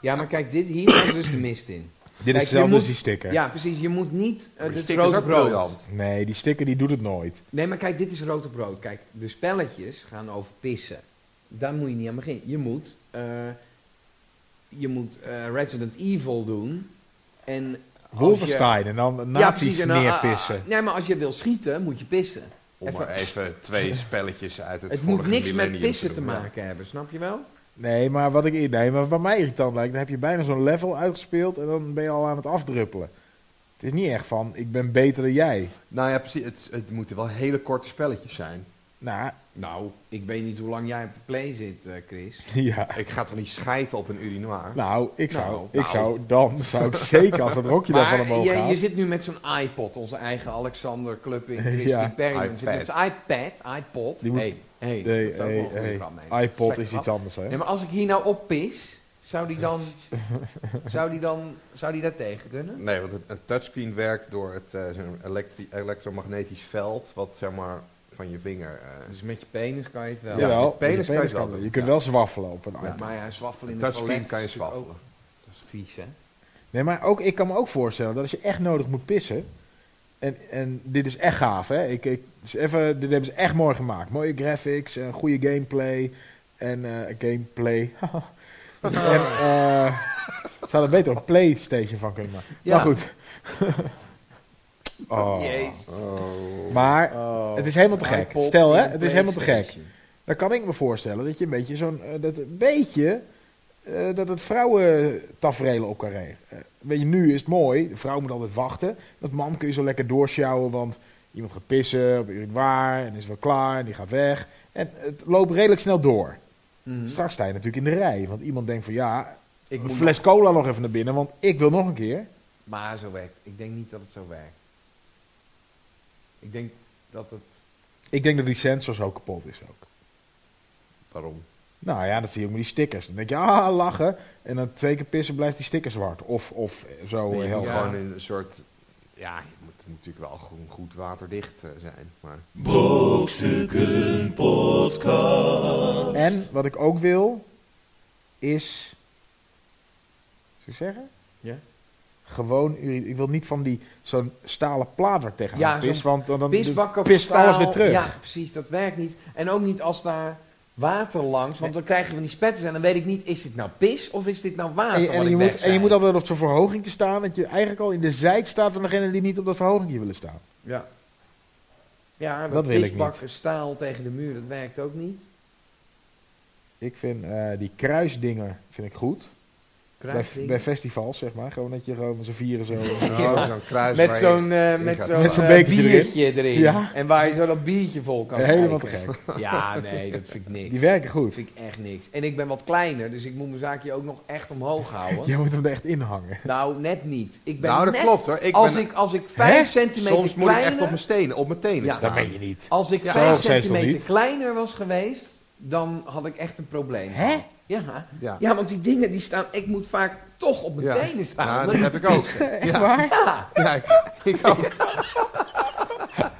Speaker 4: Ja, maar kijk, dit hier was dus de mist in.
Speaker 5: Dit
Speaker 4: je
Speaker 5: is hetzelfde als
Speaker 4: moet-
Speaker 5: die sticker.
Speaker 4: Ja, precies. Je moet niet eh,
Speaker 3: Maar die
Speaker 4: het
Speaker 3: sticker is
Speaker 4: rode
Speaker 3: ook
Speaker 4: brood.
Speaker 3: briljant.
Speaker 5: Nee, die sticker die doet het nooit.
Speaker 4: Nee, maar kijk, dit is rood op brood. Kijk, de spelletjes gaan over pissen. Daar moet je niet aan beginnen. Je moet, eh, je moet eh, Resident Evil doen. En als je-
Speaker 5: Wolfenstein en dan nazi's
Speaker 4: Oh, precies, en dan,
Speaker 5: neerpissen.
Speaker 4: ah, ah, nee, maar als je wil schieten, moet je pissen.
Speaker 3: Om maar even twee spelletjes uit het
Speaker 4: Het
Speaker 3: vorige
Speaker 4: moet niks met
Speaker 3: millennium
Speaker 4: pissen te
Speaker 3: doen, ja.
Speaker 4: maken hebben, snap je wel?
Speaker 5: Nee, maar wat ik nee, maar wat mij irritant lijkt, dan heb je bijna zo'n level uitgespeeld en dan ben je al aan het afdruppelen. Het is niet echt van, ik ben beter dan jij.
Speaker 3: Nou ja, precies. Het, het moeten wel hele korte spelletjes zijn.
Speaker 5: Nou,
Speaker 4: Nou, ik weet niet hoe lang jij op de play zit, eh, Chris.
Speaker 5: ja.
Speaker 3: Ik ga toch niet schijten op een urinoir?
Speaker 5: Nou, ik zou,
Speaker 4: Nou,
Speaker 5: ik zou dan, zou ik zeker als dat rokje daarvan
Speaker 4: Maar
Speaker 5: omhoog
Speaker 4: je,
Speaker 5: gaat.
Speaker 4: je zit nu met zo'n iPod, onze eigen Alexander Club in Chris
Speaker 5: Ja.
Speaker 4: Imperium. Zit met zijn iPad, iPod.
Speaker 5: Die moet-
Speaker 4: hey, hey,
Speaker 5: Nee,
Speaker 4: dat is ook
Speaker 5: hey,
Speaker 4: wel een goede
Speaker 5: hey,
Speaker 4: grap, nee.
Speaker 5: iPod
Speaker 4: Slechte
Speaker 5: is
Speaker 4: grap.
Speaker 5: iets anders, hè?
Speaker 4: Nee, maar als ik hier nou op pis, zou die dan, zou die dan, zou die daar tegen kunnen?
Speaker 3: Nee, want het, een touchscreen werkt door het eh, zo'n elektri- elektromagnetisch veld, wat zeg maar van je vinger. eh,
Speaker 4: Dus met je penis kan je het wel.
Speaker 5: Jawel,
Speaker 3: Ja,
Speaker 5: met je
Speaker 3: penis kan je
Speaker 5: penis
Speaker 3: het wel
Speaker 5: kan
Speaker 3: doen,
Speaker 5: Je kunt
Speaker 3: ja.
Speaker 5: wel zwaffelen op een iPad.
Speaker 4: Maar ja, zwaffelen
Speaker 3: een
Speaker 4: in het
Speaker 3: touchscreen
Speaker 4: toilet
Speaker 3: kan je
Speaker 4: is natuurlijk ook-
Speaker 3: swaffelen.
Speaker 4: Dat is vies, hè?
Speaker 5: Nee, maar ook, ik kan me ook voorstellen dat als je echt nodig moet pissen. En, en dit is echt gaaf, hè? Ik, ik, dus even, dit hebben ze echt mooi gemaakt. Mooie graphics, eh, goede gameplay. En eh, gameplay. en, eh, ze hadden beter een PlayStation van kunnen maken.
Speaker 4: Ja.
Speaker 5: Maar goed. oh.
Speaker 4: Jezus.
Speaker 3: Oh.
Speaker 5: Maar
Speaker 4: Oh,
Speaker 5: het is helemaal te gek.
Speaker 4: iPod
Speaker 5: Stel, hè,
Speaker 4: en
Speaker 5: het is helemaal te gek.
Speaker 4: PlayStation.
Speaker 5: Dan kan ik me voorstellen dat je een beetje zo'n. eh, dat een beetje. eh, dat het vrouwentafereel op kan regen. Eh, weet je, nu is het mooi. De vrouw moet altijd wachten. Dat man kun je zo lekker doorsjouwen. Want iemand gaat pissen op een waar. En is wel klaar. En die gaat weg. En het loopt redelijk snel door.
Speaker 4: Mhm.
Speaker 5: Straks sta je natuurlijk in de rij. Want iemand denkt van ja.
Speaker 4: Ik
Speaker 5: een
Speaker 4: moet
Speaker 5: fles cola nog even naar binnen. Want ik wil nog een keer.
Speaker 4: nog- maar zo werkt. Ik denk niet dat het zo werkt. Ik denk dat het.
Speaker 5: Ik denk dat die sensor zo kapot is ook.
Speaker 3: Waarom?
Speaker 5: Nou ja, dat zie je ook met die stickers. Dan denk je, ah, lachen. En dan twee keer pissen blijft die sticker zwart. Of, of zo
Speaker 3: Nee, je
Speaker 5: heel
Speaker 3: moet
Speaker 4: ja.
Speaker 3: gewoon in een soort. Ja, je moet, het moet natuurlijk wel gewoon goed waterdicht eh, zijn. Maar
Speaker 1: Brokstukken podcast.
Speaker 5: En wat ik ook wil, is. Zou ik zeggen?
Speaker 4: Ja?
Speaker 5: Gewoon, uri- ik wil niet van die zo'n stalen plaat waar ik tegenaan
Speaker 4: Ja,
Speaker 5: pis,
Speaker 4: zo'n
Speaker 5: want dan, dan
Speaker 4: Pisbak op
Speaker 5: pist alles weer terug.
Speaker 4: Ja, precies. Dat werkt niet. En ook niet als daar water langs. Want dan krijgen we die spetters. En dan weet ik niet, is dit nou pis of is dit nou water?
Speaker 5: en, je-
Speaker 4: wat
Speaker 5: en, je
Speaker 4: ik
Speaker 5: moet,
Speaker 4: weg
Speaker 5: en je
Speaker 4: zei?
Speaker 5: moet altijd op zo'n verhoging staan, dat je eigenlijk al in de zijk staat van degene die niet op dat verhoging willen staan.
Speaker 4: Ja. Ja, dat,
Speaker 5: Dat wil ik
Speaker 4: pisbak staal tegen de muur, dat werkt ook niet.
Speaker 5: Ik vind eh, die kruisdingen vind ik goed. Bij,
Speaker 4: Kruisding.
Speaker 5: bij festivals, zeg maar. Gewoon dat je gewoon met z'n vieren zo.
Speaker 3: Oh, zo'n kruis
Speaker 4: met
Speaker 3: waar je-
Speaker 4: zo'n eh,
Speaker 3: in
Speaker 4: met
Speaker 3: gaat
Speaker 4: zo'n
Speaker 5: Met zo'n
Speaker 4: eh,
Speaker 5: bekertje erin.
Speaker 4: biertje erin.
Speaker 5: Ja.
Speaker 4: En waar je zo dat biertje vol kan
Speaker 5: helemaal te
Speaker 4: kijken.
Speaker 5: gek.
Speaker 4: Ja, nee, dat vind ik niks.
Speaker 5: Die werken goed.
Speaker 4: Dat vind ik echt niks. En ik ben wat kleiner, dus ik moet mijn zaakje ook nog echt omhoog houden.
Speaker 5: Jij moet hem er echt in hangen.
Speaker 4: Nou, net niet. Ik ben
Speaker 3: nou, dat
Speaker 4: net,
Speaker 3: klopt hoor. Ik
Speaker 4: als,
Speaker 3: ben,
Speaker 4: ik, als ik vijf centimeter
Speaker 3: soms moet ik
Speaker 4: kleiner...
Speaker 3: echt op mijn stenen, op mijn tenen
Speaker 4: Ja.
Speaker 3: staan.
Speaker 5: je niet.
Speaker 4: Als ik
Speaker 5: Ja.
Speaker 4: vijf
Speaker 5: Zo steeds nog
Speaker 4: centimeter
Speaker 5: niet.
Speaker 4: kleiner was geweest, dan had ik echt een probleem.
Speaker 5: Hè?
Speaker 4: gehad. Ja.
Speaker 3: Ja.
Speaker 4: ja, want die dingen die staan... Ik moet vaak toch op mijn
Speaker 3: Ja.
Speaker 4: tenen staan.
Speaker 3: Ja,
Speaker 4: om
Speaker 3: dat
Speaker 4: erin
Speaker 3: heb
Speaker 4: te
Speaker 3: ik ook.
Speaker 4: pissen.
Speaker 5: Echt waar?
Speaker 4: Ja.
Speaker 3: Ja, ik, ik ook.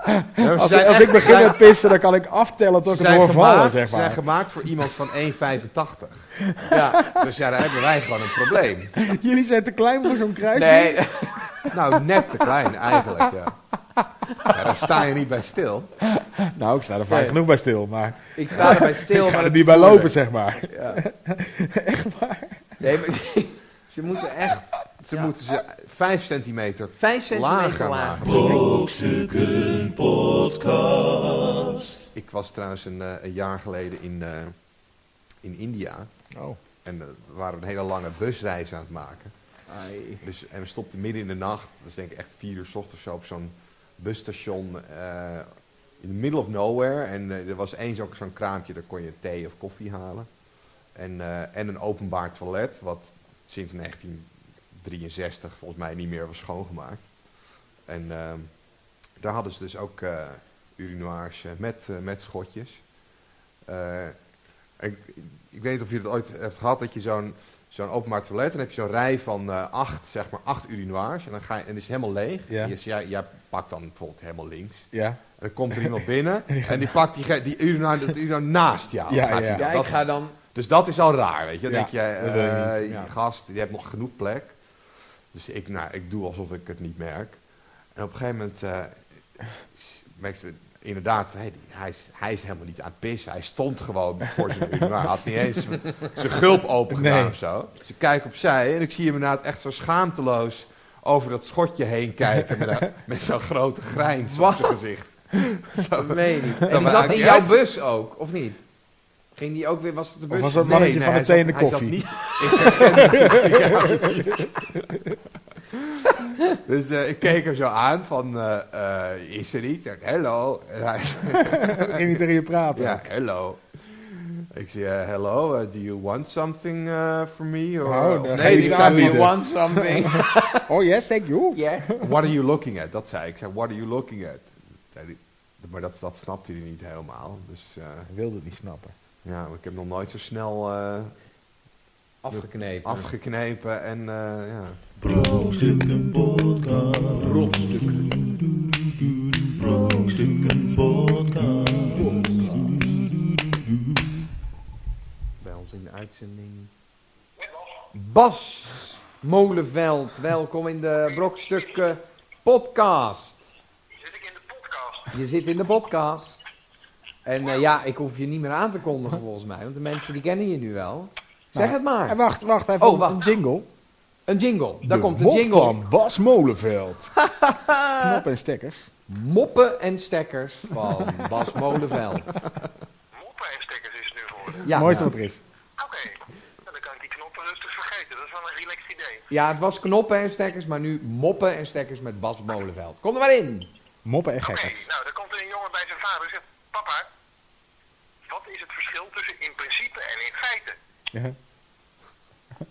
Speaker 3: Ja, we
Speaker 5: Als,
Speaker 3: zijn
Speaker 5: ik- als
Speaker 3: echt-
Speaker 5: ik begin met pissen, dan kan ik aftellen tot ik
Speaker 3: Ze
Speaker 5: hem
Speaker 3: zijn,
Speaker 5: hoor vallen,
Speaker 3: gemaakt, ze
Speaker 5: zeg
Speaker 3: zijn
Speaker 5: maar.
Speaker 3: gemaakt voor iemand van 1,85.
Speaker 4: ja.
Speaker 3: Dus ja, daar hebben wij gewoon een probleem.
Speaker 5: Jullie zijn te klein voor zo'n kruis.
Speaker 4: Nee,
Speaker 3: Nou, net te klein eigenlijk. Ja. Ja, daar sta je niet bij stil.
Speaker 5: Nou, ik sta er vaak
Speaker 4: Nee.
Speaker 5: genoeg bij stil, maar
Speaker 4: ik sta erbij
Speaker 5: ik ga
Speaker 4: stil. maar
Speaker 5: er
Speaker 4: dat
Speaker 5: niet bij lopen, zeg maar.
Speaker 4: Ja. Echt waar? Nee, maar ze moeten echt
Speaker 3: Ze
Speaker 4: Ja.
Speaker 3: moeten ze 5 centimeter.
Speaker 4: vijf centimeter
Speaker 3: Lager
Speaker 4: lager.
Speaker 1: Brokstukken podcast.
Speaker 3: Ik was trouwens een, eh, een jaar geleden in, eh, in India.
Speaker 5: Oh.
Speaker 3: En eh, we waren een hele lange busreis aan het maken.
Speaker 4: Ai.
Speaker 3: Dus, en we stopten midden in de nacht, dat is denk ik echt vier uur s ochtends zo, op zo'n busstation eh, in the middle of nowhere. En eh, er was eens ook zo'n kraampje, daar kon je thee of koffie halen. En, eh, en een openbaar toilet, wat sinds 1963 volgens mij niet meer was schoongemaakt. En ehm, daar hadden ze dus ook eh urinoirs eh, met, eh, met schotjes. Eh, ik, ik weet niet of je dat ooit hebt gehad, dat je zo'n zo'n openbaar toilet, dan heb je zo'n rij van eh, acht, zeg maar acht urinoirs. En dan, ga je, en dan is het helemaal leeg.
Speaker 5: Ja.
Speaker 3: En je- jij, jij pakt dan bijvoorbeeld helemaal links.
Speaker 5: Ja.
Speaker 3: En dan komt er iemand binnen en die pakt die, ge- die urinoir, dat urinoir naast jou.
Speaker 5: Ja,
Speaker 3: Gaat die
Speaker 5: ja.
Speaker 3: dan.
Speaker 4: Ja, ik
Speaker 3: Dat-
Speaker 4: ga dan...
Speaker 3: dus dat is al raar, weet je. Dan
Speaker 5: Ja,
Speaker 3: denk je,
Speaker 5: dat wil je
Speaker 3: eh,
Speaker 5: niet.
Speaker 3: je
Speaker 5: Ja.
Speaker 3: gast, je hebt nog genoeg plek. Dus ik, nou, ik doe alsof ik het niet merk. En op een gegeven moment eh merk ze inderdaad, van, hey, die- hij, is, hij is helemaal niet aan het pissen. Hij stond gewoon voor zijn urinoir. Hij had niet eens zijn gulp open gedaan
Speaker 5: Nee.
Speaker 3: of zo. Dus ik kijk opzij en ik zie hem inderdaad echt zo schaamteloos over dat schotje heen kijken met, een- met zo'n grote grijns op
Speaker 4: Wat?
Speaker 3: zijn gezicht. Zo,
Speaker 4: Nee, niet. En
Speaker 3: Zou
Speaker 4: die
Speaker 3: maar
Speaker 4: zat in
Speaker 3: eigenlijk-
Speaker 4: jouw bus ook, of niet? Ging die ook weer... Was het de
Speaker 5: Of
Speaker 4: bus?
Speaker 5: was dat mannetje van de
Speaker 3: hij
Speaker 5: thee en
Speaker 3: zat-
Speaker 5: de
Speaker 3: hij zat
Speaker 5: koffie?
Speaker 3: niet in- Ja, precies. dus eh, ik keek hem zo aan van, eh, eh, is er niet? Ik zeg, hello. En hij-
Speaker 5: Ging niet tegen je praten.
Speaker 3: ja, hello. Ik zei, eh, hello, eh, do you want something eh, from me? Or,
Speaker 5: Oh,
Speaker 3: of-
Speaker 5: daar
Speaker 3: nee,
Speaker 5: ga je
Speaker 4: Nee,
Speaker 3: ik
Speaker 4: die
Speaker 5: iets
Speaker 4: zei,
Speaker 3: zei,
Speaker 5: aanbieden.
Speaker 4: we want something.
Speaker 5: Oh yes, thank you.
Speaker 4: yeah.
Speaker 3: what are you looking at? Dat zei ik. Ik zei, what are you looking at? Zei die- Maar dat, dat snapte hij niet helemaal. Dus eh,
Speaker 5: Hij wilde het niet snappen.
Speaker 3: ja, ik heb nog nooit zo snel eh,
Speaker 4: Afgeknepen.
Speaker 3: afgeknepen en eh, ja...
Speaker 1: Brokstukken podcast. Brokstukken podcast.
Speaker 3: Bij ons in de uitzending.
Speaker 4: Bas Molenveld, welkom in de Brokstukken podcast.
Speaker 8: Zit ik in de podcast?
Speaker 4: Je zit in de podcast. En eh, ja, ik hoef je niet meer aan te kondigen volgens mij, want de mensen die kennen je nu wel. Zeg het
Speaker 5: Nou, En
Speaker 4: maar.
Speaker 5: wacht, wacht, even
Speaker 4: Ah. Oh, wacht.
Speaker 5: een jingle.
Speaker 4: Een jingle, daar
Speaker 5: De
Speaker 4: komt een
Speaker 5: mop
Speaker 4: jingle.
Speaker 5: van Bas Molenveld. Knop en stekkers.
Speaker 4: Moppen en stekkers van Bas Molenveld.
Speaker 8: Moppen en stickers is het nu geworden.
Speaker 4: Ja,
Speaker 5: Mooiste
Speaker 4: ja.
Speaker 5: wat er is.
Speaker 8: Oké, Nou, dan kan ik die knoppen rustig vergeten. Dat is wel een relaxed idee.
Speaker 4: ja, het was knoppen en stekkers, maar nu moppen en stekkers met Bas Molenveld. Kom er maar in.
Speaker 5: Moppen en
Speaker 8: Oké,
Speaker 5: gekken.
Speaker 8: nou, dan komt er een jongen bij zijn vader en zegt... Papa, wat is het verschil tussen in principe en in feite?
Speaker 5: Ja.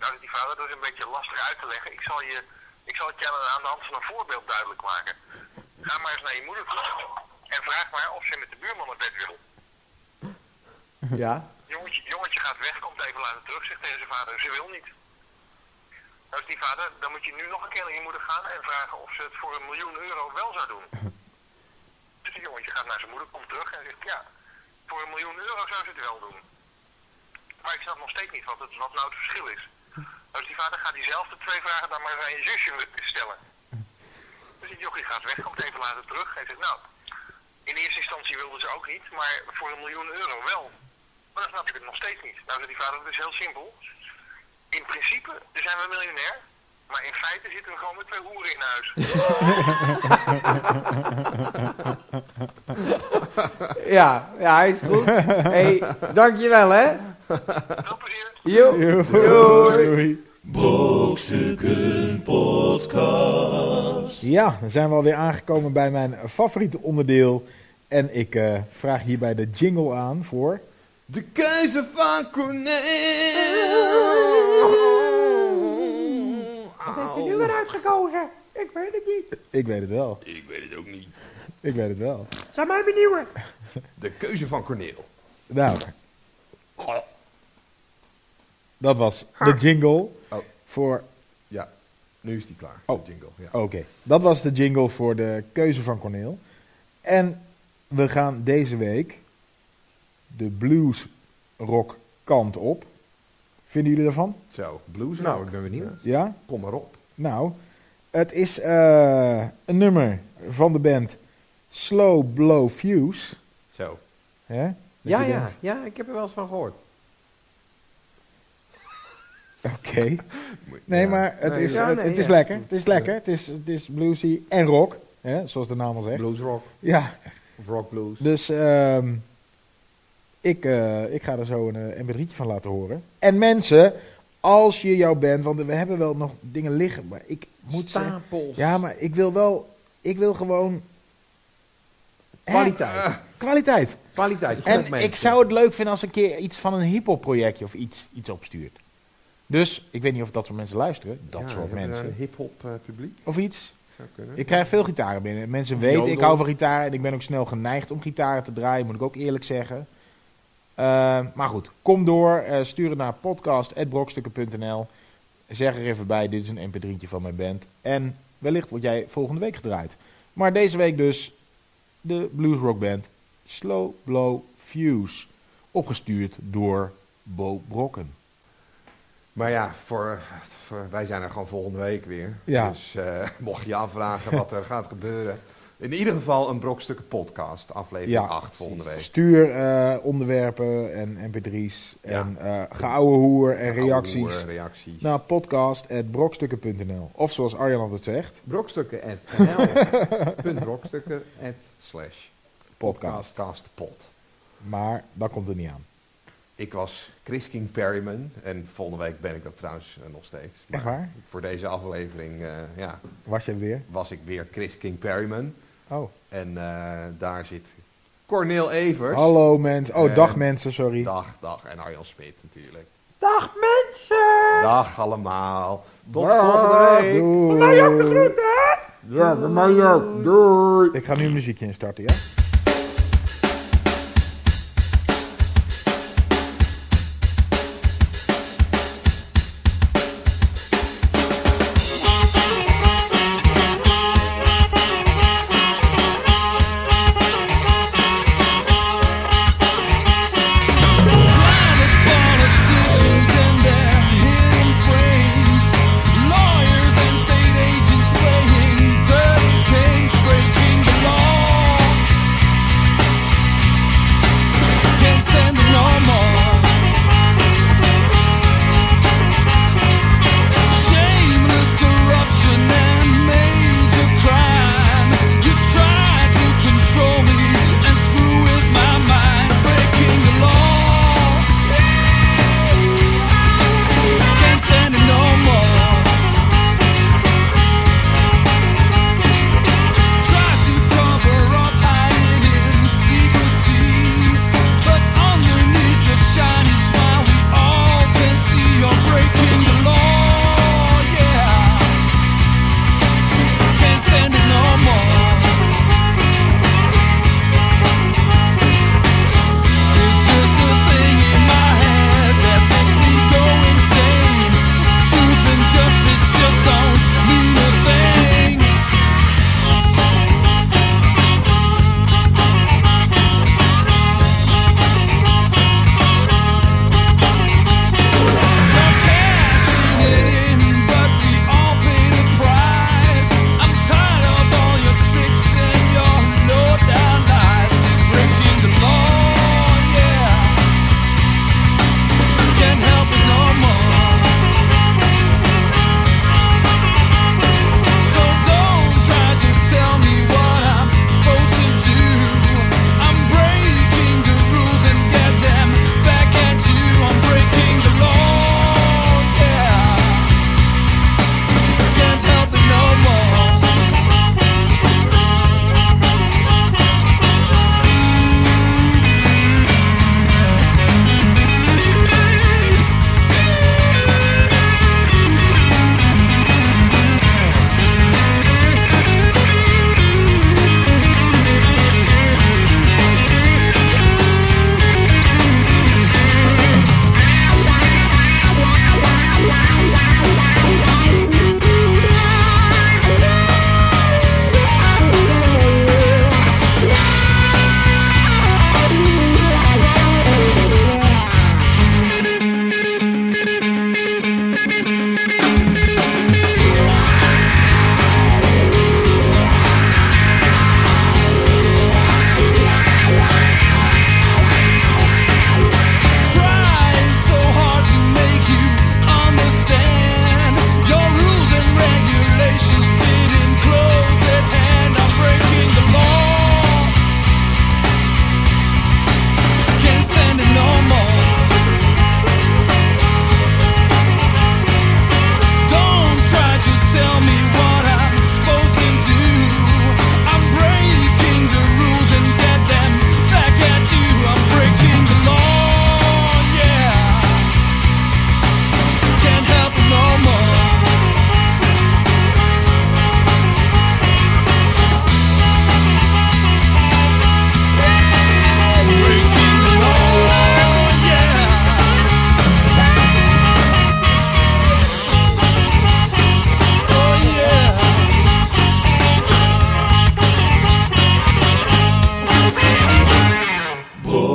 Speaker 8: Nou, die vader, dat is een beetje lastig uit te leggen. Ik zal, je, ik zal het je aan- aan de hand van een voorbeeld duidelijk maken. Ga maar eens naar je moeder toe en vraag maar of ze met de buurman naar bed wil.
Speaker 4: Ja.
Speaker 8: Jongetje, jongetje gaat weg, komt even later terug, zegt tegen zijn vader, ze wil niet. Nou is die vader, dan moet je nu nog een keer naar je moeder gaan en vragen of ze het voor een miljoen euro wel zou doen. Dus het jongetje gaat naar zijn moeder, komt terug en zegt, ja, voor een miljoen euro zou ze het wel doen. Maar ik snap nog steeds niet wat, het, wat nou het verschil is. Dus die vader gaat diezelfde twee vragen dan maar eens aan je zusje stellen. Dus die jochie gaat weg, komt even later terug en zegt, nou, in eerste instantie wilde ze ook niet, maar voor een miljoen euro wel. Maar dat snap ik het nog steeds niet. Nou, zei die vader, dat is heel simpel. In principe zijn we miljonair, maar in feite zitten we gewoon met twee hoeren in huis.
Speaker 4: Ja, ja, hij is goed. hey, dankjewel hè.
Speaker 8: Veel plezier.
Speaker 4: Joep.
Speaker 5: Doei.
Speaker 1: Brokstukken podcast.
Speaker 5: Ja, dan zijn we alweer aangekomen bij mijn favoriete onderdeel. En ik eh, vraag hierbij de jingle aan voor...
Speaker 3: De keizer van
Speaker 9: Nu
Speaker 3: Corneel.
Speaker 9: weer uitgekozen. Ik weet het niet.
Speaker 5: Ik weet het wel.
Speaker 3: Ik weet het ook niet.
Speaker 5: Ik weet het wel.
Speaker 9: Zijn mij benieuwen.
Speaker 3: De keuze van Corneel.
Speaker 5: Nou. Dat was de jingle
Speaker 3: Oh.
Speaker 5: voor...
Speaker 3: Ja, nu is die klaar.
Speaker 5: Oh.
Speaker 3: De jingle. Ja.
Speaker 5: Oké, dat was de jingle voor de keuze van Corneel. En we gaan deze week de bluesrock kant op. Vinden jullie daarvan?
Speaker 3: Zo, blues.
Speaker 4: Nou,
Speaker 3: ook.
Speaker 4: ik ben benieuwd.
Speaker 5: Ja?
Speaker 3: Kom maar op.
Speaker 5: Nou, het is eh, een nummer van de band Slow Blow Fuse.
Speaker 3: Zo.
Speaker 5: Hè? Dat
Speaker 4: Ja,
Speaker 5: je
Speaker 4: ja,
Speaker 5: denkt,
Speaker 4: ja, ik heb er wel eens van gehoord.
Speaker 5: Oké. Nee,
Speaker 3: Ja.
Speaker 5: maar het
Speaker 3: Nee,
Speaker 5: is,
Speaker 4: ja,
Speaker 5: het,
Speaker 4: nee,
Speaker 5: het is
Speaker 4: ja.
Speaker 5: lekker. Het is lekker. Het is, het is bluesy en rock. Hè? Zoals de naam al zegt.
Speaker 4: Bluesrock
Speaker 5: Ja,
Speaker 4: of rock blues.
Speaker 5: dus ehm, ik, eh, ik ga er zo een, eh, een rietje van laten horen. En mensen, als je jou bent, want we hebben wel nog dingen liggen, maar ik moet zeggen-
Speaker 4: Stapels.
Speaker 5: Ja, maar ik wil wel, ik wil gewoon... Hè?
Speaker 4: Kwaliteit.
Speaker 5: Kwaliteit.
Speaker 4: Kwaliteit. goed
Speaker 5: Ah. En
Speaker 4: mensen.
Speaker 5: ik zou het leuk vinden als een keer iets van een hiphop projectje of iets, iets opstuurt. Dus, ik weet niet of dat soort mensen luisteren. Dat
Speaker 3: Ja,
Speaker 5: soort
Speaker 3: hebben we
Speaker 5: mensen.
Speaker 3: Een hip-hop eh, publiek
Speaker 5: Of iets.
Speaker 3: zou kunnen.
Speaker 5: Ik krijg veel gitaren binnen. Mensen weten, ik
Speaker 4: jodel.
Speaker 5: hou van gitaren. En ik ben ook snel geneigd om gitaren te draaien, moet ik ook eerlijk zeggen. Eh, maar goed, kom door. eh, stuur het naar podcast.brokstukken.nl. Zeg er even bij, dit is een mp3'tje van mijn band. En wellicht word jij volgende week gedraaid. Maar deze week dus de bluesrockband Slow Blow Fuse. Opgestuurd door Bo Brokken.
Speaker 3: Maar ja, voor, voor- wij zijn er gewoon volgende week weer.
Speaker 5: Ja.
Speaker 3: Dus eh, mocht je afvragen wat er gaat gebeuren. In ieder geval een brokstukken podcast, aflevering
Speaker 5: Ja,
Speaker 3: 8 volgende week.
Speaker 5: Stuur eh, onderwerpen en mp3's en eh geouwe hoer en reacties. Nou.
Speaker 3: Ouwe, reacties.
Speaker 5: naar podcast.brokstukken.nl. Of zoals Arjan altijd zegt,
Speaker 4: Brokstukken at nl. Punt brokstukken at
Speaker 3: Slash
Speaker 5: podcast.
Speaker 3: podcastpod.
Speaker 5: Maar dat komt er niet aan.
Speaker 3: Ik was Chris King Perryman. En volgende week ben ik dat trouwens eh, nog steeds. Maar
Speaker 5: Echt waar?
Speaker 3: voor deze aflevering eh, ja,
Speaker 5: Was je er weer?
Speaker 3: was ik weer Chris King Perryman.
Speaker 5: Oh.
Speaker 3: En eh, daar zit Cornel Evers.
Speaker 5: Hallo mensen. Oh,
Speaker 3: Eh,
Speaker 5: dag mensen, sorry.
Speaker 3: Dag, dag. En Arjan Smit natuurlijk.
Speaker 9: Dag mensen!
Speaker 3: Dag allemaal. Tot
Speaker 5: Dag,
Speaker 3: volgende week.
Speaker 5: Ah, doei.
Speaker 9: Mij ook de groeten!
Speaker 10: Ja, bij mij ook. Doei.
Speaker 5: Ik ga nu een muziekje instarten, ja?
Speaker 11: Lawyers and state agents playing dirty games, breaking the law.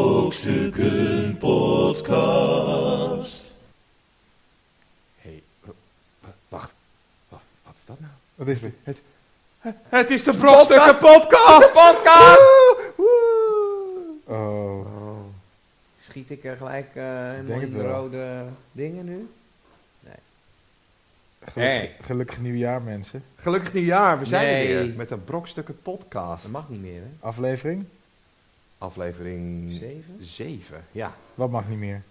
Speaker 1: Brokstukken Podcast.
Speaker 3: Hey, w- w- wacht. Wa- Wat is dat nou?
Speaker 5: Wat is dit?
Speaker 3: Het, het is de Brokstukken Podcast!
Speaker 4: Podcast!
Speaker 5: Oh.
Speaker 3: Oh,
Speaker 4: Schiet ik er gelijk eh
Speaker 5: denk
Speaker 4: in
Speaker 5: het
Speaker 4: de
Speaker 5: wel.
Speaker 4: rode dingen nu?
Speaker 5: Gelukkig,
Speaker 4: Hey.
Speaker 5: gelukkig nieuwjaar, mensen.
Speaker 3: Gelukkig nieuwjaar, we zijn er
Speaker 4: Nee.
Speaker 3: weer met een Brokstukken Podcast.
Speaker 4: Dat mag niet meer, hè?
Speaker 5: Aflevering?
Speaker 3: Aflevering
Speaker 4: Zeven?
Speaker 3: 7. Ja,
Speaker 5: Wat mag niet meer?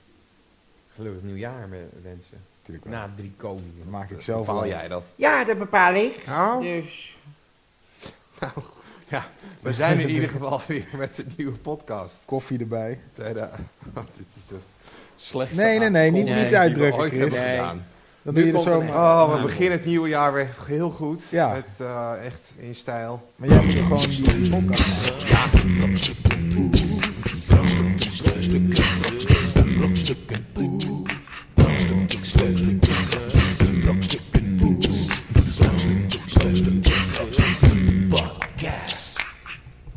Speaker 4: Gelukkig nieuwjaar, me- mensen.
Speaker 5: Natuurlijk
Speaker 4: Na drie
Speaker 5: Dat
Speaker 4: koningen.
Speaker 5: maak ik zelf
Speaker 3: bepaal
Speaker 5: wel.
Speaker 3: jij dat.
Speaker 9: Ja, dat bepaal ik.
Speaker 3: Nou,
Speaker 4: Dus.
Speaker 3: we zijn in ieder geval weer met de nieuwe podcast.
Speaker 5: Koffie erbij.
Speaker 3: Tweede- dit is de slechtste
Speaker 5: Nee, nee, nee, niet-
Speaker 3: aankondiging
Speaker 5: niet
Speaker 3: die we
Speaker 5: uitdrukken,
Speaker 3: ooit
Speaker 5: Chris.
Speaker 3: hebben
Speaker 4: Nee.
Speaker 3: gedaan.
Speaker 5: Dan
Speaker 4: Nu
Speaker 5: doe je er
Speaker 4: komt
Speaker 5: zo.
Speaker 4: een echt.
Speaker 3: Oh, we
Speaker 4: Nou,
Speaker 3: beginnen het nieuwe jaar weer heel goed.
Speaker 5: Ja.
Speaker 3: Met, eh, echt in stijl.
Speaker 5: Maar jij moet er gewoon die podcast maken.
Speaker 3: Ja,